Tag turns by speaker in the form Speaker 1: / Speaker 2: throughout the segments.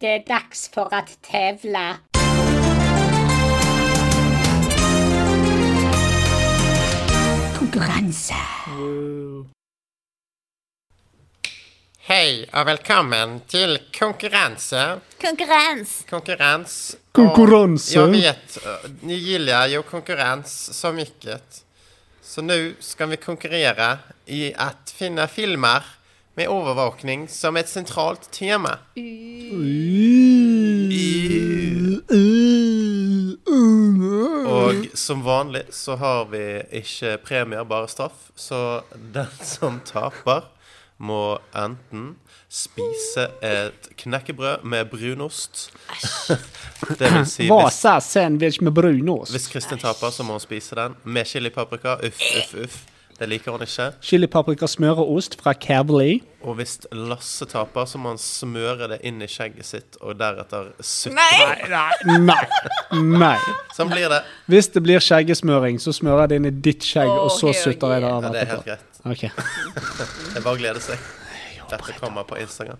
Speaker 1: det er dags for å tevle. Konkurranse.
Speaker 2: Hei og velkommen til konkurranse.
Speaker 3: Konkurrens.
Speaker 2: Konkurrens. og
Speaker 4: Konkurranse.
Speaker 2: Jag vet, eh, ni gillar ju konkurrens så mycket. Så nu ska vi konkurrera i att finna filmer med övervakning som ett centralt tema. Och som vanligt så har vi inte premier, bara straff. Så den som taper må enten spise ett knäckebröd med brunost. Det vill säga hvis-
Speaker 4: Vasa sandwich med brunost.
Speaker 2: Hvis Kristin taper, så må hun spise den med chilipaprika. Uff, uff, uff. Det liker hun ikke.
Speaker 4: Chili, paprika, smør og ost fra Cavli.
Speaker 2: Og hvis Lasse taper, så må han smøre det inn i skjegget sitt og deretter sutte.
Speaker 3: Nei!
Speaker 4: Nei. Nei.
Speaker 2: Sånn blir det.
Speaker 4: Hvis det blir skjeggesmøring, så smører jeg det inn i ditt skjegg,
Speaker 3: Åh,
Speaker 4: og så
Speaker 3: herregud.
Speaker 4: sutter jeg det av
Speaker 2: Ja, det er helt
Speaker 4: etterpå.
Speaker 2: greit.
Speaker 4: Ok.
Speaker 2: Det er bare å glede seg. Dette kommer på Instagram.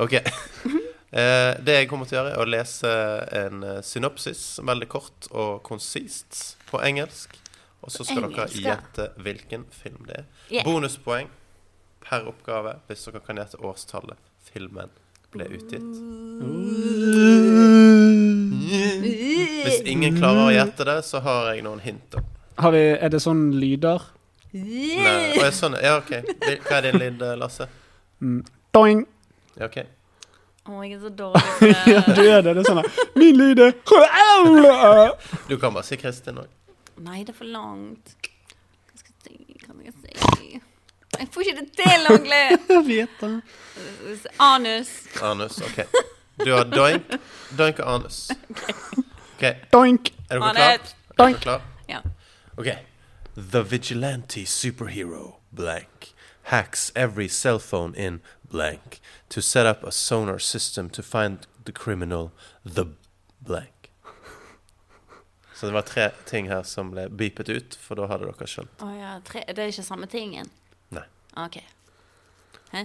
Speaker 2: OK. Eh, Det jeg kommer til å gjøre, er å lese en eh, synopsis veldig kort og konsist på engelsk. Og så skal dere
Speaker 3: Engelsk, ja.
Speaker 2: gjette hvilken film det er.
Speaker 3: Yeah.
Speaker 2: Bonuspoeng per oppgave hvis dere kan gjette årstallet filmen ble utgitt. Hvis ingen klarer å gjette det, så har jeg noen hint. da.
Speaker 4: Har vi, er det sånn lyder?
Speaker 2: Nei, og jeg, sånn, ja, ok. Hva er din lyd, eh, Lasse?
Speaker 4: Doing!
Speaker 2: Ja, ok.
Speaker 3: Å, jeg er så dårlig.
Speaker 4: Ja, du er det. Det er sånn her. Min lyd er Hva
Speaker 2: Du kan bare si Kristin òg.
Speaker 3: Nei, det er for langt. Hva skal jeg si? Hva skal jeg si? Jeg får ikke det til ordentlig.
Speaker 4: vet jeg?
Speaker 3: Anus.
Speaker 2: Anus. OK. Du har doink, doink og anus. OK. Er
Speaker 4: Doink!
Speaker 2: dere klare?
Speaker 3: Anus.
Speaker 2: Er dere klar?
Speaker 3: Ja.
Speaker 2: OK. The vigilante superhero blank hacks every cell phone in blank to set up a sonar system to find the criminal the blank. Så det var tre ting her som ble beepet ut, for da hadde dere skjønt.
Speaker 3: Å ja, tre. Det er ikke samme tingen?
Speaker 2: Nei.
Speaker 3: OK. Hæ?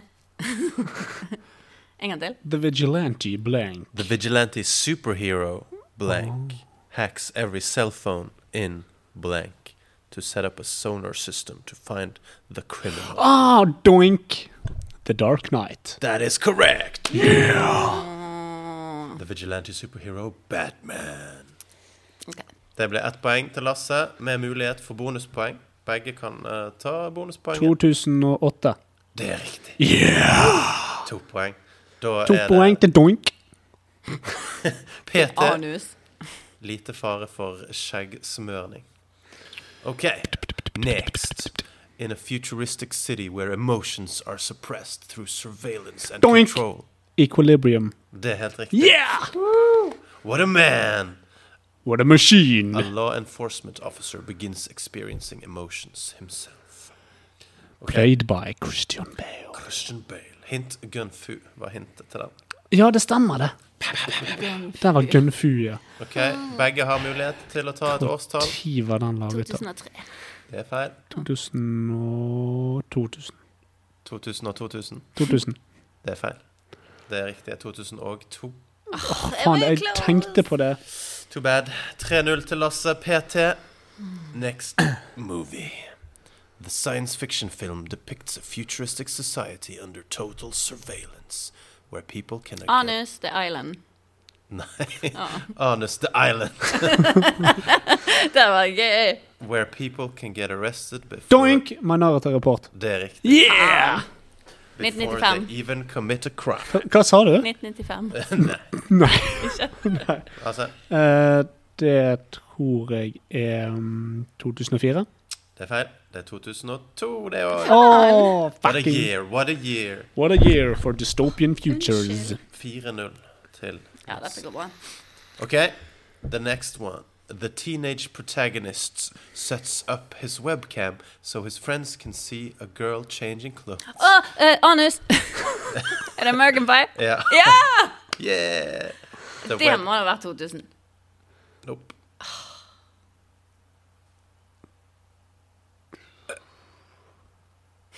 Speaker 3: en gang til.
Speaker 4: The vigilante blank.
Speaker 2: The vigilante superhero blank hacks every cell phone in blank to set up a sonar system to find the criminal.
Speaker 4: Ah, doink! The Dark Knight.
Speaker 2: Oh, That is correct. Yeah. The vigilante superhero Batman.
Speaker 3: Ok.
Speaker 2: Det ble ett poeng til Lasse, med mulighet for bonuspoeng. Begge kan eh, ta bonuspoenget.
Speaker 4: 2008.
Speaker 2: Det er riktig.
Speaker 4: Yeah!
Speaker 2: To poeng. Da
Speaker 4: To
Speaker 2: er
Speaker 4: poeng til doink.
Speaker 2: det PT
Speaker 3: Anus.
Speaker 2: Lite fare for skjeggsmørning. Okay, next. In a futuristic city where emotions are suppressed through surveillance and
Speaker 4: Doink.
Speaker 2: control.
Speaker 4: Equilibrium.
Speaker 2: Det er helt riktig.
Speaker 4: Yeah!
Speaker 2: What a man!
Speaker 4: What a machine!
Speaker 2: A law enforcement officer begins experiencing emotions himself. Okay.
Speaker 4: Played by Christian Bale.
Speaker 2: Christian Bale. Hint Gunfu var hintet til den.
Speaker 4: Ja, det stemmer, det. Der var Gunfu, ja.
Speaker 2: Ok, Begge har mulighet til å ta et årstall.
Speaker 4: Når var den laget? da?
Speaker 3: 2003.
Speaker 2: Det er feil.
Speaker 4: 2000 og 2000.
Speaker 2: 2000 og 2000.
Speaker 4: 2000.
Speaker 2: Det er feil. Det er riktig. 2002.
Speaker 4: Faen, jeg tenkte på det.
Speaker 2: Too bad. 3-0 til Lasse PT. Next movie. The science fiction film depicts a futuristic society under total surveillance, where people can...
Speaker 3: Anus, The Island.
Speaker 2: Nei. Anus the Island.
Speaker 3: Det var gøy.
Speaker 2: Where people can get arrested before...
Speaker 4: Doink! Minority Report.
Speaker 2: Det er riktig.
Speaker 4: Yeah!
Speaker 2: Before
Speaker 3: 1995.
Speaker 2: they even commit a crime.
Speaker 4: Hva sa du?
Speaker 3: 1995.
Speaker 4: Nei.
Speaker 2: Altså,
Speaker 4: Eh, det tror jeg er mm, 2004.
Speaker 2: det er feil. Det er 2002, det òg.
Speaker 4: Oh,
Speaker 2: What a
Speaker 4: fucking
Speaker 2: year, what a year.
Speaker 4: What a year for dystopian futures.
Speaker 2: 4-0 til
Speaker 3: Ja, dette går bra.
Speaker 2: Okay, the next one. The teenage protagonist sets up his webcam so his friends can see a girl changing clothes.
Speaker 3: Å, eh, anus! er det American Pie?
Speaker 2: Yeah.
Speaker 3: Ja!
Speaker 2: Yeah. The
Speaker 3: Det
Speaker 2: web-
Speaker 3: må ha vært 2000.
Speaker 2: Nope.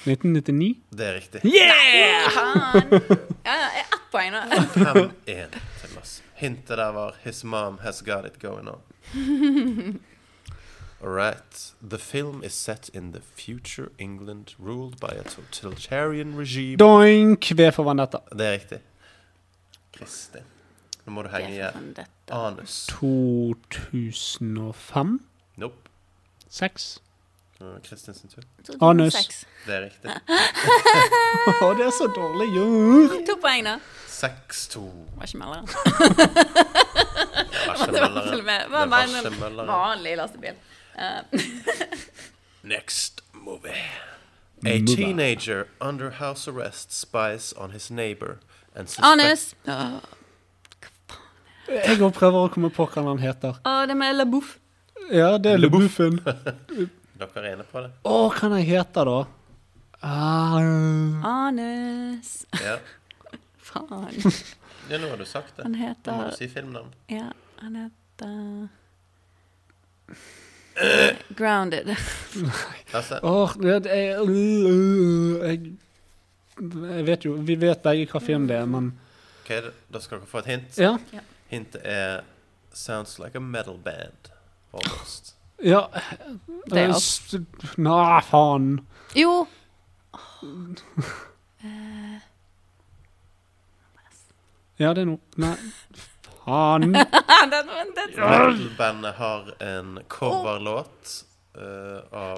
Speaker 2: Det er riktig.
Speaker 4: Yeah!
Speaker 3: Faen! Ja, ja, jeg er ett poeng nå.
Speaker 2: 5-1 til Lasse. Hintet der var 'His mom has got it going on'. All right. The film is set in the future England ruled by a totalitarian regime.
Speaker 4: Doink! V for Vendetta.
Speaker 2: Det er riktig. Kristin. Nå må du henge
Speaker 3: Det er
Speaker 2: igjen.
Speaker 3: faen dette.
Speaker 2: Anus.
Speaker 4: 2005?
Speaker 2: Nope.
Speaker 4: 6?
Speaker 2: Nå er det Kristin sin tur.
Speaker 3: 2006.
Speaker 2: Det er riktig.
Speaker 4: Å, det er så dårlig gjort!
Speaker 3: To poeng nå.
Speaker 2: 6-2.
Speaker 3: Var ikke melderen.
Speaker 2: Var
Speaker 3: Det
Speaker 2: ikke
Speaker 3: var
Speaker 2: møllere.
Speaker 3: i hvert fall med.
Speaker 2: Det er
Speaker 3: Hva
Speaker 2: var
Speaker 3: mener
Speaker 2: ikke
Speaker 3: du?
Speaker 2: møllere.
Speaker 3: Vanlig lastebil. Eh,
Speaker 2: Next movie. A
Speaker 4: Movie.
Speaker 2: teenager under house arrest spies on his neighbor and suspects
Speaker 3: Anus. Åh,
Speaker 4: Jeg òg prøver å komme på hva han heter.
Speaker 3: Åh, det med Labouf.
Speaker 4: Ja, det er
Speaker 2: Le Bouff.
Speaker 4: Lebuffen. Å,
Speaker 2: Dere er inne på det?
Speaker 4: hva han heter da? Ah,
Speaker 3: Anus.
Speaker 2: Ja.
Speaker 3: Faen.
Speaker 2: ja, nå har du sagt det.
Speaker 3: Han
Speaker 2: Nå må
Speaker 3: heter
Speaker 2: du si filmnavn.
Speaker 3: Ja, han heter Grounded.
Speaker 2: Lasse?
Speaker 4: Åh, det er, øh, jeg, jeg vet jo Vi vet begge hva film det er, men
Speaker 2: Ok, da skal dere få et hint.
Speaker 4: Ja.
Speaker 2: Hintet er 'Sounds like a metal band'. Almost.
Speaker 4: ja
Speaker 3: Det er
Speaker 4: eh, s- Nei, faen.
Speaker 3: Jo.
Speaker 4: Ja, det er noe Nei, faen.
Speaker 3: Den ventet.
Speaker 2: Metal-bandet har en coverlåt eh, av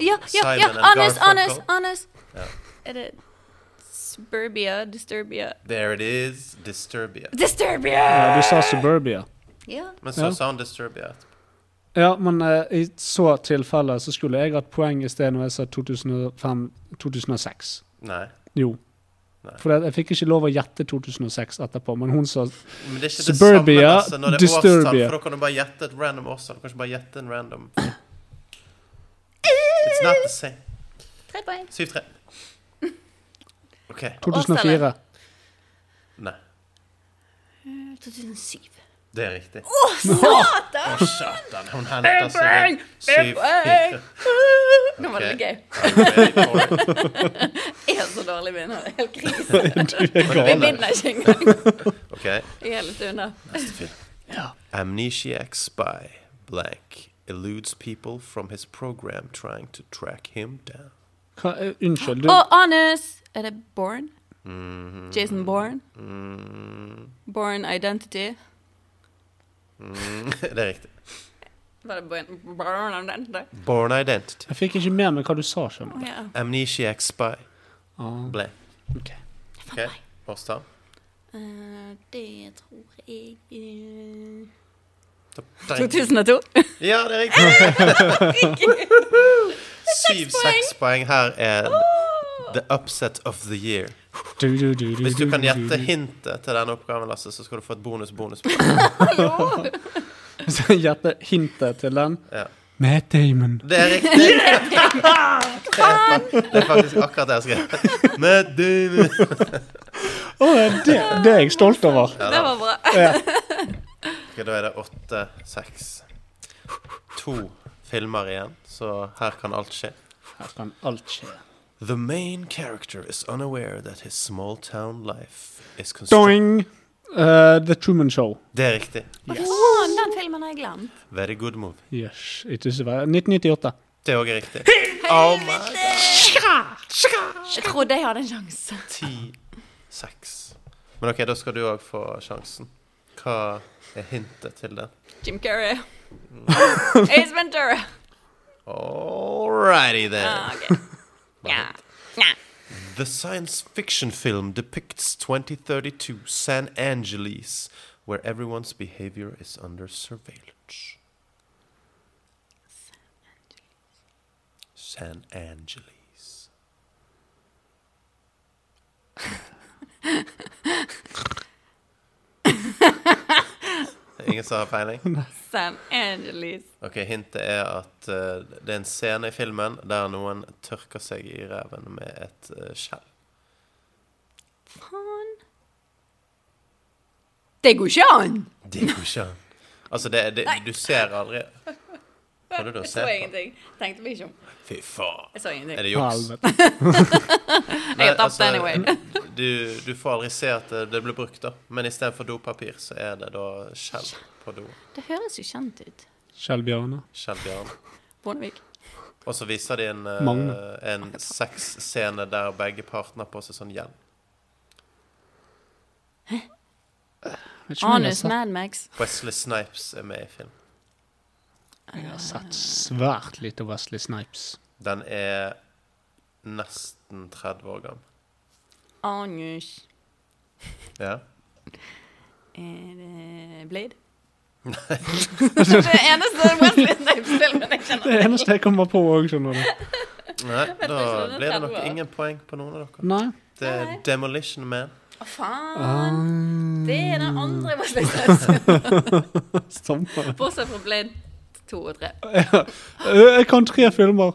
Speaker 3: Ja, ja,
Speaker 2: Simon
Speaker 3: ja.
Speaker 2: and
Speaker 3: Anus, Anus,
Speaker 2: Garfunkel.
Speaker 3: Anus.
Speaker 2: Ja.
Speaker 3: Er det Suburbia? Disturbia?
Speaker 2: There it is. Disturbia.
Speaker 4: Ja,
Speaker 3: Disturbia!
Speaker 4: du sa Suburbia.
Speaker 3: Ja.
Speaker 2: Men så
Speaker 4: Ja.
Speaker 2: sa han Disturbia. etterpå.
Speaker 4: Ja, men eh, i så tilfelle så skulle jeg hatt poeng i stedet når jeg sa 2005-2006.
Speaker 2: Nei.
Speaker 4: Jo.
Speaker 2: Nei.
Speaker 4: For jeg fikk ikke lov å gjette 2006 etterpå, men hun sa
Speaker 2: Men det er ikke det
Speaker 4: Suburbia,
Speaker 2: samme altså, når det er årstall,
Speaker 4: Disturbia.
Speaker 2: for da kan du bare gjette et random årstall. Du kan ikke bare gjette en random It's not the same.
Speaker 3: Tre poeng.
Speaker 2: 7-3. OK.
Speaker 4: 2004.
Speaker 2: Nei.
Speaker 3: 2007.
Speaker 2: Det er riktig.
Speaker 3: Satan!
Speaker 2: Å, satan. Hun henter
Speaker 3: Bang!
Speaker 2: seg syv
Speaker 3: Bang!
Speaker 2: fire.
Speaker 3: altså. Nå var det
Speaker 2: Ok.
Speaker 3: litt gøy.
Speaker 2: Men
Speaker 3: Jeg er så dårlig vinner. Det er helt krise.
Speaker 2: du
Speaker 3: Jeg
Speaker 2: vinner.
Speaker 3: vinner ikke engang.
Speaker 2: OK.
Speaker 3: Jeg er litt unna.
Speaker 2: Amnesiac spy blank eludes people from his program trying to track him down.
Speaker 4: Hva, eh, unnskyld, du
Speaker 3: Å, Anus! Er det Born?
Speaker 2: Mm-hmm.
Speaker 3: Jason Born? Born Identity?
Speaker 2: Mm-hmm. Det er riktig.
Speaker 3: Var det Born, born Identity?
Speaker 2: Born identity.
Speaker 4: Jeg fikk ikke med meg hva du sa, skjønner
Speaker 3: Å,
Speaker 4: du.
Speaker 3: ja.
Speaker 2: Amnesiac spy
Speaker 4: Ah,
Speaker 2: blank.
Speaker 4: ok.
Speaker 2: OK. Årstall.
Speaker 3: Eh, Det tror jeg eh,
Speaker 2: Topp tre.
Speaker 3: 2002.
Speaker 2: Ja, det er riktig. Syv-seks poeng her er the upset of the year.
Speaker 4: Du, du, du, du,
Speaker 2: Hvis du kan
Speaker 4: du, du,
Speaker 2: gjette
Speaker 4: du.
Speaker 2: hintet til denne oppgaven, Lasse, så skal du få et bonus-bonus.
Speaker 4: Hvis du kan gjette hintet til den
Speaker 2: Ja.
Speaker 4: Matt Damon.
Speaker 2: Det er riktig. Det er faktisk akkurat det jeg skrev. Med dine
Speaker 4: Å, det, det er jeg stolt over.
Speaker 2: Ja,
Speaker 3: Det
Speaker 2: da.
Speaker 3: var bra.
Speaker 2: Ok, Da er det åtte, seks To filmer igjen, så her kan alt skje.
Speaker 4: Her kan alt skje.
Speaker 2: The main character is unaware that his small town life is constructed
Speaker 4: Doing eh, The Truman Show.
Speaker 2: Det er riktig.
Speaker 3: Hva faen, den filmen har jeg glemt.
Speaker 2: Very good move.
Speaker 4: Yes, eh, ikke så verre. 1998.
Speaker 2: Det òg er riktig. Oh my god.
Speaker 3: Jeg trodde jeg hadde en sjanse.
Speaker 2: Ti, seks. Men OK, da skal du òg få sjansen. Hva er hintet til den?
Speaker 3: Jim Carrey. Mm. Ace Ventura.
Speaker 2: All righty then.
Speaker 3: Ah, ok. Ja. Ja.
Speaker 2: The science fiction film depicts 2032 San Angeles, where everyone's behavior is under surveillance. San Angeles. Ingen som har peiling?
Speaker 3: San Angeles.
Speaker 2: Ok, Hintet er at eh, det er en scene i filmen der noen tørker seg i reven med et eh, skjell.
Speaker 3: Faen. Det går ikke an!
Speaker 2: Det går ikke an. Altså, det, det, du ser aldri Hva er det du
Speaker 3: Jeg så
Speaker 2: ser på?
Speaker 3: ingenting. Tenkte meg ikke om.
Speaker 2: Fy faen.
Speaker 3: Jeg så ingenting.
Speaker 2: Er det juks? altså,
Speaker 4: Helvete.
Speaker 3: Jeg
Speaker 2: uh,
Speaker 3: har tapt anyway.
Speaker 2: du, du får aldri se at det, det blir brukt, da. Men istedenfor dopapir, så er det da skjell på do.
Speaker 3: Det høres jo kjent ut.
Speaker 4: Kjell Bjørne.
Speaker 2: Skjellbjørn.
Speaker 3: Bondevik.
Speaker 2: Og så viser de en,
Speaker 4: Magne.
Speaker 2: eh, en sexscene der begge partene har på seg sånn hjelm.
Speaker 4: Vet ikke om jeg har
Speaker 3: Anus
Speaker 4: sett-
Speaker 3: Madmax.
Speaker 2: Wesley Snipes er med i film.
Speaker 4: Jeg har sett svært lite Wesley Snipes.
Speaker 2: Den er nesten 30 år gammel.
Speaker 3: Anus
Speaker 2: Ja.
Speaker 3: Er det Blade? det er det eneste Wesley Snipes-filmen jeg kjenner.
Speaker 4: Det er eneste jeg kommer på òg, skjønner du.
Speaker 2: Nei, da
Speaker 3: ikke, den er
Speaker 2: blir det
Speaker 3: 30
Speaker 2: nok
Speaker 3: år.
Speaker 2: ingen poeng på noen av dere.
Speaker 4: Nei.
Speaker 2: Det er
Speaker 3: Nei.
Speaker 2: Demolition Man.
Speaker 3: Å, faen.
Speaker 4: Ah.
Speaker 3: Det er den andre Wesley Snipes.
Speaker 4: Stammer.
Speaker 3: Bortsett fra Blade 2 og 3.
Speaker 4: Jeg kan tre filmer.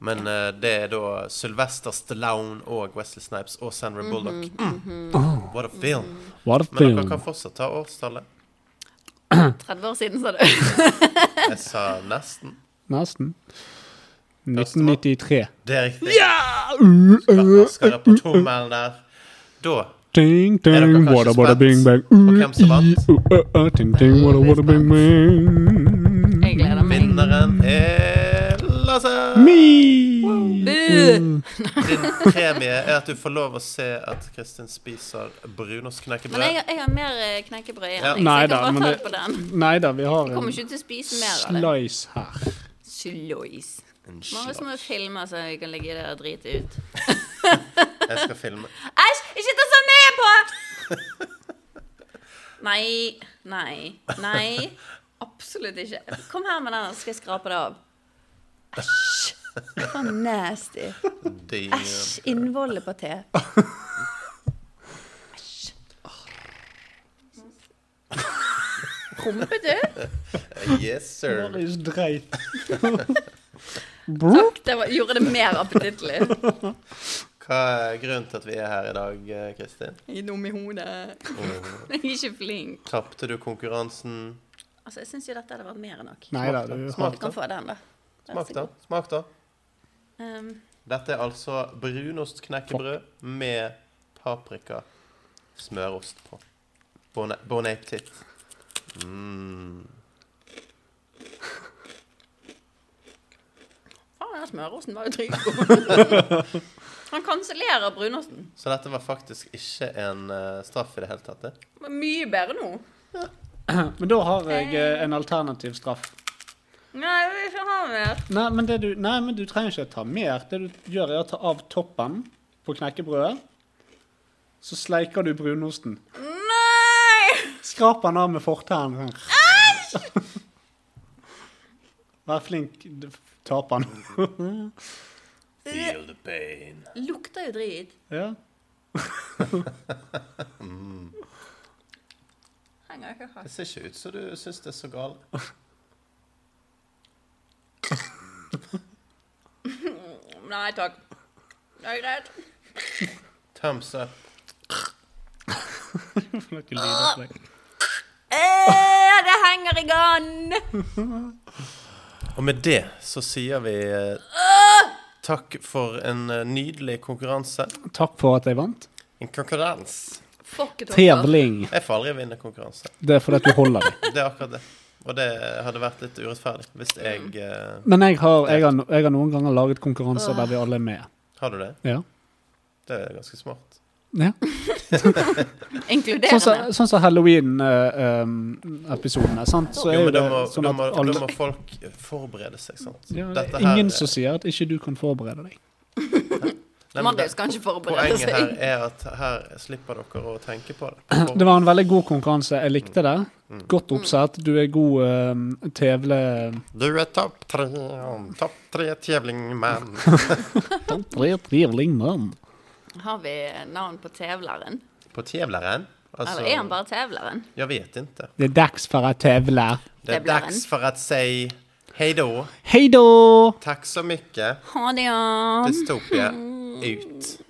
Speaker 2: Men eh, det er da Sylvester Stallone og Wesley Snipes og Sandra
Speaker 3: Mhm,
Speaker 2: Bullock. Mm. What a film!
Speaker 4: What a
Speaker 2: Men dere
Speaker 4: film.
Speaker 2: kan fortsatt ta årstallet.
Speaker 3: 30 år siden, sa du.
Speaker 2: Jeg sa nesten.
Speaker 4: Nesten. 1993.
Speaker 2: Det er riktig. Raskere på tommelen der. Da
Speaker 4: Ding,
Speaker 2: Er dere
Speaker 4: ding,
Speaker 2: kanskje
Speaker 4: wada, wada,
Speaker 2: spent
Speaker 4: bing, bang.
Speaker 2: på hvem som vant?
Speaker 4: Uh, uh, uh, ding, ding, wada, wada, bing, bang.
Speaker 3: Jeg gleder meg.
Speaker 2: vinneren er Lasse!
Speaker 4: Me!
Speaker 3: Bu!
Speaker 2: Din premie er at du får lov å se at Kristin spiser
Speaker 3: Men jeg,
Speaker 2: brunostknekkebrød.
Speaker 3: jeg har mer eh, knekkebrød igjen.
Speaker 2: Ja.
Speaker 3: Jeg, så
Speaker 4: Nei
Speaker 3: jeg
Speaker 4: da,
Speaker 3: kan
Speaker 4: men
Speaker 3: bare ta
Speaker 4: det-
Speaker 3: det på den.
Speaker 4: Nei da, vi har
Speaker 3: Jeg
Speaker 4: en
Speaker 3: kommer ikke til å spise mer av det.
Speaker 4: slice her.
Speaker 3: Slois.
Speaker 2: En
Speaker 3: Mange
Speaker 2: slags.
Speaker 3: små filmer som jeg kan ligge der og drite ut.
Speaker 2: Jeg skal filme.
Speaker 3: Æsj! Ikke ta sånn ned på! Nei. Nei. Nei. Absolutt ikke. Kom her med den, så skal jeg skrape det av. Æsj. Så nasty.
Speaker 2: De,
Speaker 3: Æsj. Innvollet på te. Æsj. Prompet du?
Speaker 2: yes, sir.
Speaker 4: Marius dreit.
Speaker 3: Takk, det var, gjorde det mer appetittlig.
Speaker 2: Hva er grunnen til at vi er her i dag, eh, Kristin?
Speaker 3: Jeg er dum i hodet. Jeg er ikke flink.
Speaker 2: Tapte du konkurransen?
Speaker 3: Altså, Jeg syns jo dette hadde vært mer enn nok.
Speaker 4: Nei da, du har
Speaker 3: Du kan få den, da. Den er
Speaker 2: Smak,
Speaker 3: så
Speaker 2: da.
Speaker 3: god.
Speaker 2: Smak, da.
Speaker 3: Um,
Speaker 2: Dette er altså brunostknekkebrød med paprika smørost på. Bon, bon appetit. Mm.
Speaker 3: faen, den smørosten var jo dritgod. Han kansellerer brunosten.
Speaker 2: Så dette var faktisk ikke en eh, straff i det hele tatt. det.
Speaker 3: Det var Mye bedre nå.
Speaker 4: Men da har jeg eh, en alternativ straff.
Speaker 3: Nei, jeg vil ikke ha mer.
Speaker 4: Nei, men, det du, nei, men du trenger ikke ta mer. Det du gjør, er å ta av toppen på knekkebrødet. Så sleiker du brunosten.
Speaker 3: Nei!
Speaker 4: Skraper den av med fortennene. Vær flink, du taper den.
Speaker 2: Feel the pain.
Speaker 3: Lukter jo drit.
Speaker 4: ja.
Speaker 3: Henger ikke
Speaker 2: Det
Speaker 3: fast.
Speaker 2: ser ikke ut som du syns det er så galt.
Speaker 3: Nei takk. Det er greit.
Speaker 2: Thumbs up.
Speaker 4: Noe lydopplegg.
Speaker 3: Eh, det henger i gann!
Speaker 2: Og med det så sier vi eh, takk for en eh, nydelig konkurranse.
Speaker 4: Takk for at jeg vant.
Speaker 2: En konkurranse.
Speaker 3: Fuck it, Håkon.
Speaker 4: Trevling.
Speaker 2: Jeg får aldri vinne konkurranse.
Speaker 4: Det er fordi at du holder deg.
Speaker 2: Det er akkurat det. Og det hadde vært litt urettferdig hvis jeg eh,
Speaker 4: Men jeg har, jeg, har, jeg har noen ganger laget konkurranser der vi alle er med.
Speaker 2: Har du det?
Speaker 4: Ja.
Speaker 2: Det er ganske smart.
Speaker 4: ja. Sånn
Speaker 3: altså.
Speaker 4: som
Speaker 3: Inkluderende.
Speaker 4: sånn som Halloween-episodene. sant? Så
Speaker 2: Jo,
Speaker 4: er
Speaker 2: men da
Speaker 4: det
Speaker 2: må,
Speaker 4: sånn
Speaker 2: da,
Speaker 4: at
Speaker 2: må,
Speaker 4: alle
Speaker 2: da må folk forberede seg, sant?
Speaker 4: ja, det
Speaker 2: Dette
Speaker 4: er
Speaker 2: her-
Speaker 4: Ingen som sier at ikke du kan forberede deg.
Speaker 2: Nei, men
Speaker 3: Marius
Speaker 2: det-
Speaker 3: kan ikke forberede
Speaker 2: Poenget her
Speaker 3: seg.
Speaker 2: er at her slipper dere å tenke på det.
Speaker 4: Det var en veldig god konkurranse. Jeg likte det.
Speaker 2: Mm.
Speaker 4: Godt oppsett. Du er god um, tevle...
Speaker 2: Du er topp tre, om topp tre tjevlingmann.
Speaker 4: Trevlingmann.
Speaker 3: Har vi navn på tevleren?
Speaker 2: På tjevleren? Altså,
Speaker 3: Eller er han bare tevleren?
Speaker 2: Jeg vet ikke.
Speaker 4: Det er dags for å tevle.
Speaker 2: Det er
Speaker 3: Tjevleren.
Speaker 2: dags for å si hei då.
Speaker 4: Hei da!
Speaker 2: Takk så mye.
Speaker 3: Ha det, ja.
Speaker 2: Dystopia ut.